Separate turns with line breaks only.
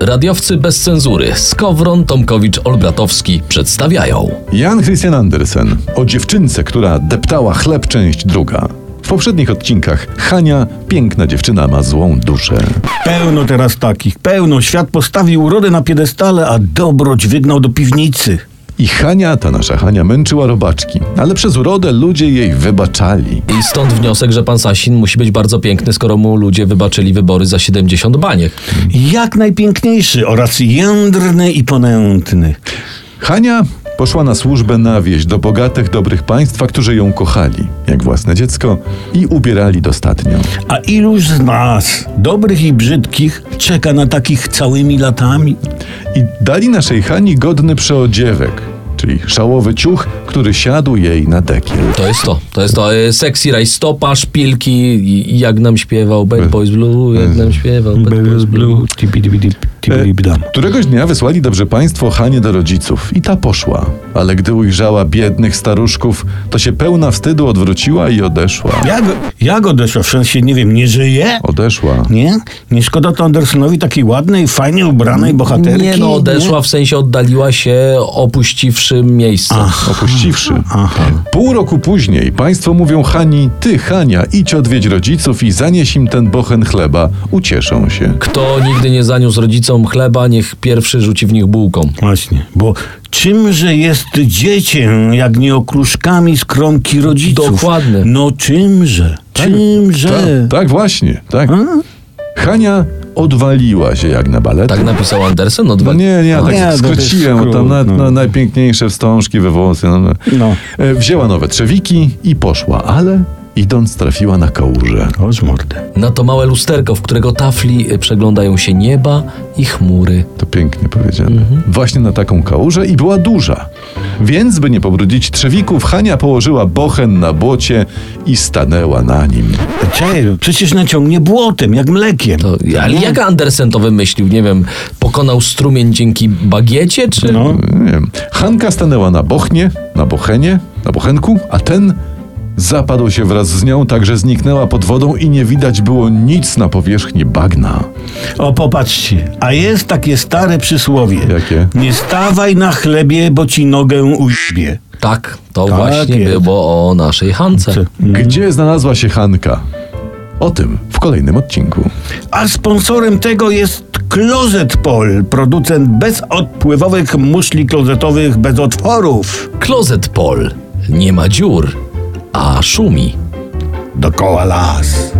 Radiowcy bez cenzury Skowron Tomkowicz Olbratowski przedstawiają.
Jan Christian Andersen o dziewczynce, która deptała chleb, część druga. W poprzednich odcinkach Hania, piękna dziewczyna, ma złą duszę.
Pełno teraz takich, pełno. Świat postawił urodę na piedestale, a dobroć wygnał do piwnicy.
I Hania, ta nasza Hania, męczyła robaczki, ale przez urodę ludzie jej wybaczali.
I stąd wniosek, że pan Sasin musi być bardzo piękny, skoro mu ludzie wybaczyli wybory za 70 baniek.
Jak najpiękniejszy oraz jędrny i ponętny.
Hania poszła na służbę na wieś do bogatych, dobrych państwa, którzy ją kochali, jak własne dziecko, i ubierali dostatnio.
A iluż z nas, dobrych i brzydkich, czeka na takich całymi latami?
I dali naszej Hani godny przeodziewek, czyli szałowy ciuch, który siadł jej na dekiel.
To jest to. To jest to. E, Sexy rajstopa, szpilki, i- i jak nam śpiewał Bad Boys Blue, jak nam śpiewał Mm. Bad Boys Blue.
Któregoś dnia wysłali dobrze państwo Hanie do rodziców i ta poszła. Ale gdy ujrzała biednych staruszków, to się pełna wstydu odwróciła i odeszła.
Jak, jak odeszła? W sensie, nie wiem, nie żyje?
Odeszła.
Nie? Nie szkoda to Andersonowi takiej ładnej, fajnie ubranej bohaterki?
Nie no, odeszła, w sensie oddaliła się, opuściwszy miejsce.
Opuściwszy.
Aha.
Pół roku później państwo mówią Hani, ty Hania, idź odwiedź rodziców i zanieś im ten bochen chleba. Ucieszą się.
Kto nigdy nie zaniósł rodzicom chleba, niech pierwszy rzuci w nich bułką.
Właśnie, bo czymże jest dziecię, jak nie okruszkami z kromki rodziców?
Dokładnie.
No czymże,
Tak,
czymże?
tak właśnie, tak. Hania odwaliła się jak na balet.
Tak napisał Andersen
No
odwali.
nie, nie, tak
Nie, no to jest
skróciłem, bo tam
skrót,
na,
no.
na najpiękniejsze wstążki we włosy. No, no.
No.
E, Wzięła nowe trzewiki i poszła, ale idąc trafiła na kałużę.
O z mordy.
Na to małe lusterko, w którego tafli y, przeglądają się nieba i chmury.
To pięknie powiedziane.
Mhm.
Właśnie na taką kałużę i była duża. Więc, by nie pobrudzić trzewików, Hania położyła bochen na błocie i stanęła na nim.
Czekaj, przecież naciągnie błotem, jak mlekiem.
To, No, ale jak Andersen to wymyślił? Nie wiem, pokonał strumień dzięki bagiecie, czy...
No,
Nie wiem. Hanka stanęła na bochnie, na bochenie, na bochenku, a ten zapadł się wraz z nią, tak że zniknęła pod wodą i nie widać było nic na powierzchni bagna.
o popatrzcie, a jest takie stare przysłowie.
Jakie?
Nie stawaj na chlebie, bo ci nogę ujbie.
Tak, to
Tak
właśnie
jest.
było o naszej Hance.
Gdzie znalazła się Hanka? O tym w kolejnym odcinku.
A sponsorem tego jest Closet Pol, producent bezodpływowych muszli klozetowych bez otworów.
Klozet Pol. Nie ma dziur, a szumi.
Dokoła las.